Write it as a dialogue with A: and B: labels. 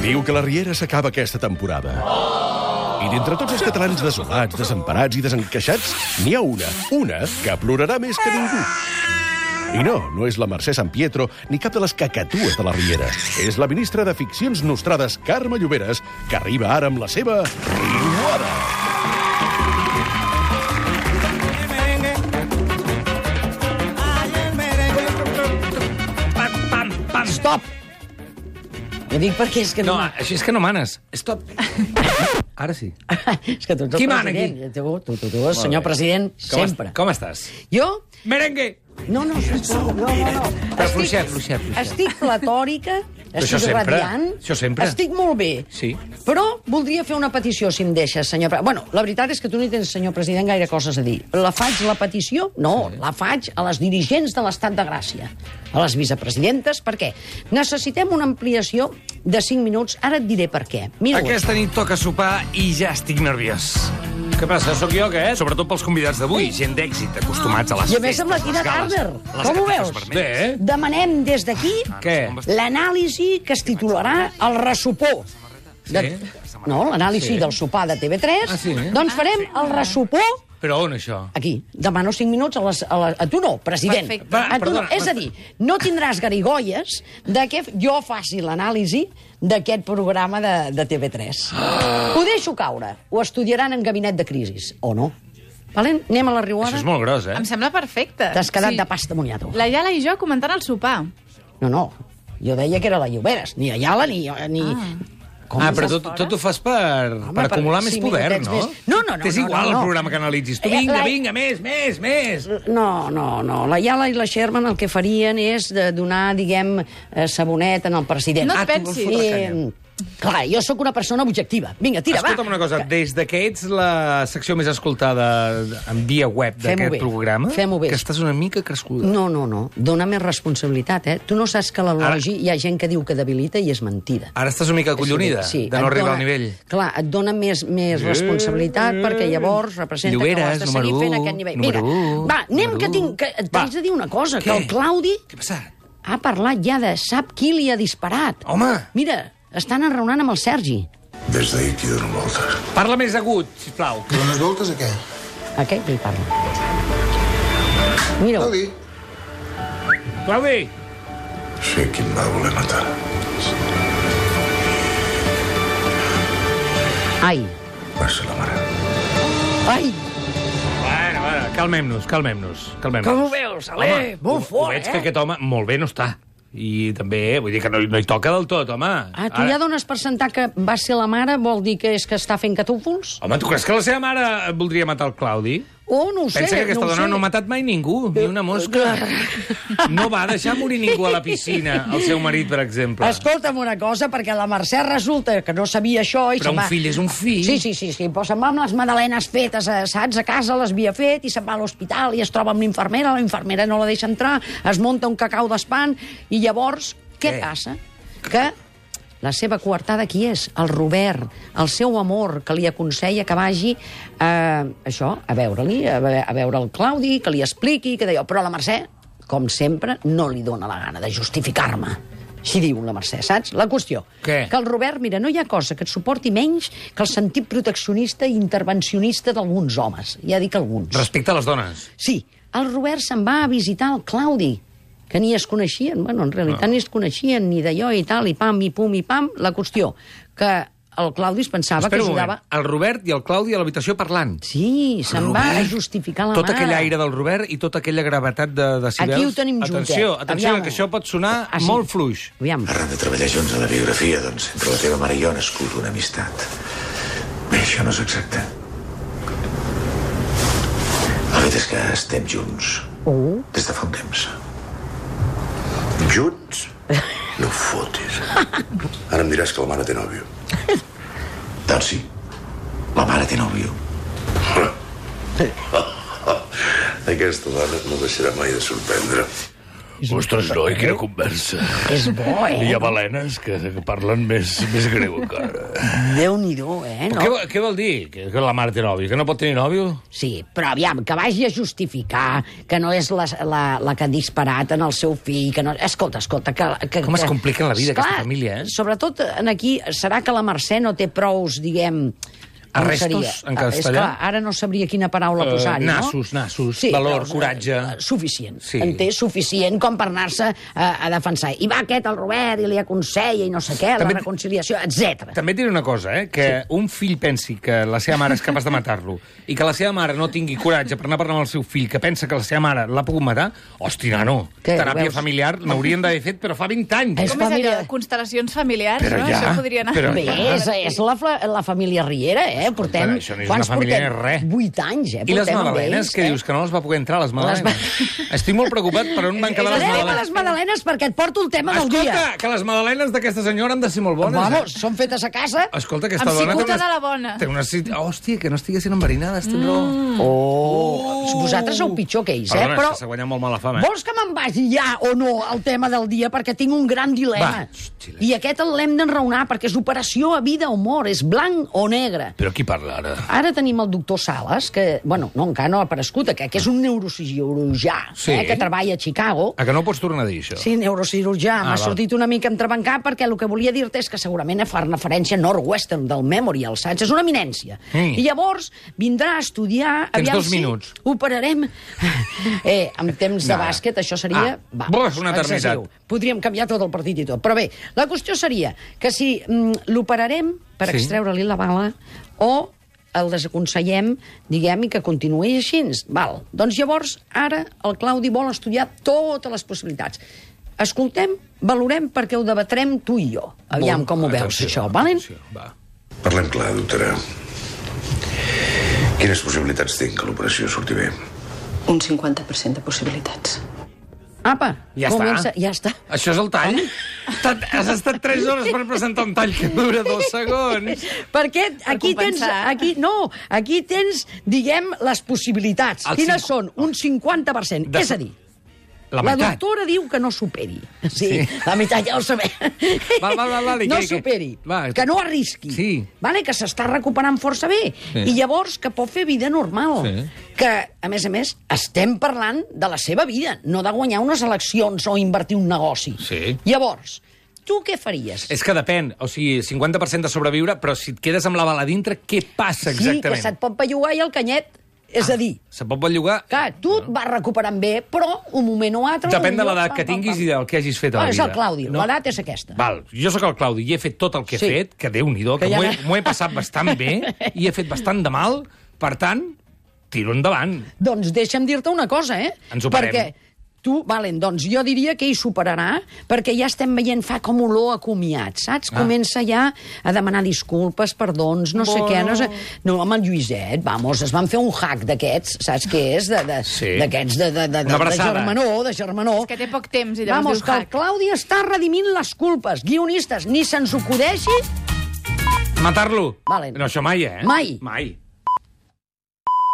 A: Diu que la Riera s'acaba aquesta temporada. I d'entre tots els catalans desolats, desemparats i desencaixats, n'hi ha una, una, que plorarà més que ningú. I no, no és la Mercè San Pietro ni cap de les cacatues de la Riera. És la ministra de Ficcions Nostrades, Carme Lloberes, que arriba ara amb la seva riuada.
B: el merengue. Ay, el merengue. Pam, pam, pam.
C: Stop! Jo dic perquè és que
D: No,
C: no...
D: així és que no manes.
C: Stop!
D: Ara sí.
C: és que tu ets el
D: Qui mana
C: president. Tu, tu, tu, tu, senyor president,
D: Com est-
C: sempre.
D: Com estàs?
C: Jo?
D: Merengue!
C: No, no, sisplau, no, no, no.
D: Però
C: Estic-
D: fluixet, fluixet, fluixet.
C: Estic platòrica,
D: això
C: estic
D: sempre,
C: radiant.
D: això sempre.
C: Estic molt bé.
D: Sí.
C: Però voldria fer una petició, si em deixes, senyor... pre- Bueno, la veritat és que tu no hi tens, senyor president, gaire coses a dir. La faig, la petició? No, la faig a les dirigents de l'Estat de Gràcia, a les vicepresidentes, perquè necessitem una ampliació de 5 minuts. Ara et diré per què. Mira
D: Aquesta nit toca
E: Ah,
D: sopar i ja estic nerviós. Què passa? Sóc jo, què?
E: Sobretot pels convidats d'avui, gent d'èxit, acostumats a les
C: I a més amb la
E: festes,
C: Tina
E: les gales,
C: Turner.
E: les
C: Com ho
E: catifes
C: veus?
E: vermelles.
D: Bé, eh?
C: Demanem des d'aquí
D: Què?
C: l'anàlisi que es titularà El ressupor. De... No, l'anàlisi del sopar de TV3.
D: Ah, sí?
C: Doncs farem el ressupor
D: Però on, això?
C: aquí. Demano 5 minuts a, les, a, la, a tu no, president.
F: Perfecte.
D: Va,
C: A tu no.
D: perdona,
C: És a dir, no tindràs garigolles de que jo faci l'anàlisi d'aquest programa de, de TV3. Ho deixo caure. Ho estudiaran en gabinet de crisis, o no. Valent, anem a la riuada.
D: Això és molt gros, eh?
F: Em sembla perfecte.
C: T'has quedat de pasta mullat.
F: La Yala i jo comentant el sopar.
C: No, no. Jo deia que era la Lloberes. Ni Ayala, ni... ni... Com
D: Ah,
C: és
D: però
C: el-
D: tot, tot ho fas per,
C: Home,
D: per
C: per
D: acumular
C: cinc
D: més poder,
C: minutets
D: no?
C: més. No, no, no,
D: T'és
C: no,
D: igual
C: no, no.
D: el programa que analitzis. Tu
C: Eh,
D: vinga,
C: la-
D: vinga, més, més, més!
C: No, no, no. La Yala i la Sherman el que farien és de donar, diguem, eh, sabonet en el president.
F: No et
D: Ah, tu vols
F: pensis.
D: fotre
C: Eh,
D: canya.
C: clar, jo sóc una persona objectiva. Vinga, tira,
D: Escolta'm
C: va.
D: una cosa, des de que ets la secció més escoltada en via web
C: Fem-ho
D: d'aquest
C: bé.
D: programa,
C: Fem-ho bé.
D: que estàs una mica crescuda.
C: No, no, no. Dóna més responsabilitat, eh? Tu no saps que l'elogi hi ha gent que diu que debilita i és mentida.
D: Ara estàs una mica acollonida de
C: et
D: no arribar
C: dona-
D: al nivell.
C: Clar, et dona més, més responsabilitat perquè llavors representa que ho
D: Lloberes,
C: has de seguir
D: número
C: fent a
D: u,
C: aquest nivell.
D: número u,
C: va, anem
D: número
C: que
D: u.
C: tinc... Que, et
D: Va.
C: vaig de dir una cosa, que
D: Què?
C: el Claudi
D: Què ha passat?
C: ha parlat ja de sap qui li ha disparat.
D: Home!
C: Mira, estan enraonant amb el Sergi.
G: Des d'ahir que dono voltes.
D: Parla més agut, sisplau.
G: Dones voltes a què?
C: Aquest li parla. Mira,
G: No
C: -ho.
G: dir.
D: Claudi!
G: Sé qui em va voler matar.
C: ai,
G: Va ser la mare.
C: ai,
D: Bueno, bueno, calmem-nos, calmem-nos. Calmem
C: com ho veus, Ale?
D: ho
C: Molt fort,
D: veig
C: eh?
D: que aquest home molt bé no està. I també, vull dir que no, no hi toca del tot, home.
C: Ah, tu ja dones per sentar que va ser la mare, vol dir que és que està fent catúfols?
D: Home, tu creus que la seva mare voldria matar el Claudi?
C: Oh, no ho sé,
D: Pensa que aquesta
C: no ho
D: dona
C: sé.
D: no ha matat mai ningú, ni una mosca. No va deixar morir ningú a la piscina, el seu marit, per exemple.
C: Escolta'm una cosa, perquè la Mercè resulta que no sabia això... I
D: Però
C: se'n
D: un
C: va-
D: fill és un fill.
C: Sí, sí, sí, sí. però se'n va amb les magdalenes fetes, eh, saps? A casa les havia fet i se'n va a l'hospital i es troba amb l'infermera, la infermera no la deixa entrar, es munta un cacau d'espant i llavors, què,
D: Què?
C: passa? Que la seva coartada qui és? El Robert, el seu amor, que li aconsella que vagi eh, això, a veure-li, a, ve- a veure el Claudi, que li expliqui, que deia... Però la Mercè, com sempre, no li dóna la gana de justificar-me. Així diu la Mercè, saps? La qüestió.
D: Què?
C: Que el Robert, mira, no hi ha cosa que et suporti menys que el sentit proteccionista i intervencionista d'alguns homes. Ja dic alguns.
D: Respecte a les dones.
C: Sí, el Robert se'n va a visitar el Claudi, que ni es coneixien, bueno, en
D: Ah.
C: realitat ni es coneixien ni d'allò i tal, i pam, i pum, i pam. La qüestió, que el Claudi es pensava
D: Espera
C: que
D: un moment.
C: ajudava...
D: El Robert i el Claudi a l'habitació parlant.
C: Sí, se'n va a
D: Robert,
C: justificar la
D: Tot
C: mare.
D: aquell aire del Robert i tota aquella gravetat de decibels.
C: Aquí ho tenim juntet.
D: Atenció, atenció,
C: Aviam.
D: que això pot sonar
C: Ah, sí.
D: molt fluix.
C: Aviam.
G: Arran de treballar junts a la biografia, doncs, entre la teva mare i jo n'escull una amistat. Bé, això no és exacte. La veritat és que estem junts.
C: Oh.
G: Des de fa un temps. Junts? No fotis. Ara em diràs que la mare té nòvio. Doncs sí, la mare té nòvio. Aquesta dona no deixarà mai de sorprendre.
H: Ostres, noi, quina conversa.
C: És bo, eh?
H: Hi ha balenes que, que parlen més, més greu encara.
C: Déu-n'hi-do,
D: No.
C: eh? No?
D: Què, vol- què vol dir? Que, que la mare té nòvio? Que no pot tenir nòvio?
C: Sí, però aviam, que vagi a justificar que no és la, la, la que ha disparat en el seu fill, que no... Escolta, escolta... Que, que,
D: Com es
C: que-
D: complica la vida,
C: Esclar,
D: aquesta família, eh?
C: Sobretot en aquí, serà que la Mercè no té prous, diguem... com
D: Arrestos,
C: seria?
D: en
C: Ah, És
D: castellà?
C: clar, ara no sabria quina paraula
D: Eh,
C: posar-hi, no?
D: nassos, nassos, valor,
C: eh,
D: coratge.
C: Suficient,
D: Sí.
C: sí. en té suficient com per anar-se a, a defensar. I va aquest, el Robert, i li aconsella, i no sé què,
D: També-
C: la reconciliació, etc.
D: També et diré una cosa, eh? que sí. un fill pensi que la seva mare és capaç de matar-lo i que la seva mare no tingui coratge per anar a parlar amb el seu fill que pensa que la seva mare l'ha pogut matar, hòstia, nano,
C: Què,
D: teràpia
C: veus?
D: familiar n'haurien d'haver fet, però fa 20 anys.
C: És
F: Com és allò?
C: família-
F: Constel·lacions familiars,
D: Però
F: no?
D: ja,
F: Això podria anar...
D: però
C: Bé, és, és la, fla- la família Riera, eh? Portem,
D: això no és
C: quants
D: una família,
C: portem?
D: és res.
C: 8 anys, eh?
D: I les
C: portem amb
D: magdalenes,
C: ells,
D: que
C: eh?
D: dius que no les va poder entrar, les magdalenes. Estic molt preocupat per on van quedar les
C: Anem a Eh, les
D: magdalenes.
C: magdalenes perquè et porto el tema del
D: Escolta,
C: dia.
D: que les magdalenes d'aquesta senyora han de ser molt bones. eh?
C: Vamos, són fetes a casa.
D: Escolta, aquesta
F: Amb
D: dona...
F: cicuta
D: té unes-
F: de la bona. Mm.
D: Té una... cit- Hòstia, que no estiguessin enverinades, tens raó.
C: Oh, vosaltres sou pitjor que ells, eh?
D: Perdona,
C: Però
D: s'ha guanyat molt mala fama, eh?
C: vols que me'n vagi ja o no al tema del dia? Perquè tinc un gran dilema.
D: Va, xxt,
C: I aquest el l'hem d'enraonar perquè és operació a vida o mort, és blanc o negre.
H: Però qui parla ara?
C: Ara tenim el doctor Sales, que, bueno, no, encara no ha aparegut, que, que és un neurocirurgià,
D: Sí.
C: eh, que treballa a Chicago.
D: A que no ho pots tornar a dir, això?
C: Sí, neurocirurgià.
D: Ah,
C: M'ha
D: val.
C: sortit una mica entrebancat perquè el que volia dir-te és que segurament fa referència a Northwestern del Memorial, saps? És una eminència.
D: Mm.
C: I llavors vindrà a estudiar...
D: Tens
C: aviam
D: dos minuts.
C: Operarem... Eh, amb temps de
D: Nada.
C: bàsquet, això seria...
D: Ah, brr, una eternitat.
C: excessiu. Podríem canviar tot el partit i tot. Però bé, la qüestió seria que si mm, l'operarem per
D: Sí.
C: extreure-li la bala o el desaconsellem, diguem, i que continuï així. Val. Doncs llavors, ara, el Claudi vol estudiar totes les possibilitats. Escoltem, valorem, perquè ho debatrem tu i jo. Aviam com ho veus, això, valent?
D: Ah, Va.
G: Parlem clar, doctora. Quines possibilitats tinc que l'operació surti bé?
I: Un 50% de possibilitats.
C: Apa,
D: Ja
C: comença,
D: està.
C: ja està.
D: Això és el tall? T'ha- Has estat 3 hores per presentar un tall que dura dos segons.
C: Perquè aquí tens,
F: compensar.
C: aquí, no, aquí tens, diguem, les possibilitats.
D: El
C: Quines
D: cincu-
C: són? Un 50%.
D: De-
C: És a dir,
D: La
C: La,
D: meitat.
C: doctora diu que no superi. Sí, sí. la meitat ja ho sabem.
D: Va, va, va, vale,
C: no
D: que- que-
C: superi,
D: va.
C: que, que no arrisqui.
D: Sí.
C: Vale, que s'està recuperant força bé.
D: Sí.
C: Sí. I llavors que pot fer vida normal.
D: Sí.
C: Que, a més a més, estem parlant de la seva vida, no de guanyar unes eleccions o invertir un negoci.
D: Sí.
C: Llavors, tu què faries?
D: És que depèn, o sigui, 50% de sobreviure, però si et quedes amb la bala a dintre, què passa
C: sí, que
D: exactament? Ah.
C: se't pot bellugar i el canyet. És a dir,
D: Se pot bellugar...
C: Clar, tu et vas recuperant bé, però un moment o altre...
D: Ah. Depèn de
C: potser,
D: l'edat
C: pam,
D: que
C: pam,
D: tinguis
C: pam.
D: i del que hagis fet a la
C: Ah, És
D: vida.
C: el Claudi,
D: No.
C: l'edat és aquesta.
D: Val, jo sóc el Claudi i he fet tot el que he
C: Sí.
D: fet, que Déu-n'hi-do, que,
C: Que ja
D: m'ho he,
C: no-
D: m'ho he passat bastant bé i he fet bastant de mal, per tant, tiro endavant.
C: Doncs deixa'm dir-te una cosa, eh?
D: Ens operem.
C: Perquè tu, Valen, doncs jo diria que hi superarà, perquè ja estem veient fa com olor a comiat, saps? Ah. Comença ja a demanar disculpes, perdons, no sé què, no sé... No, amb el Lluiset, vamos, es van fer un hack d'aquests, saps què és? De- de-
D: Sí.
C: D'aquests de, de, de, de,
D: Una
C: de, de,
D: abraçada.
C: germanor, de germanor.
F: Que té poc temps i llavors
C: Vamos,
F: diu
C: que el
F: hack.
C: Claudi està redimint les culpes. Guionistes, ni se'ns acudeixi...
D: Matar-lo?
C: Valen.
D: No, això mai, eh?
C: Mai.
D: Mai.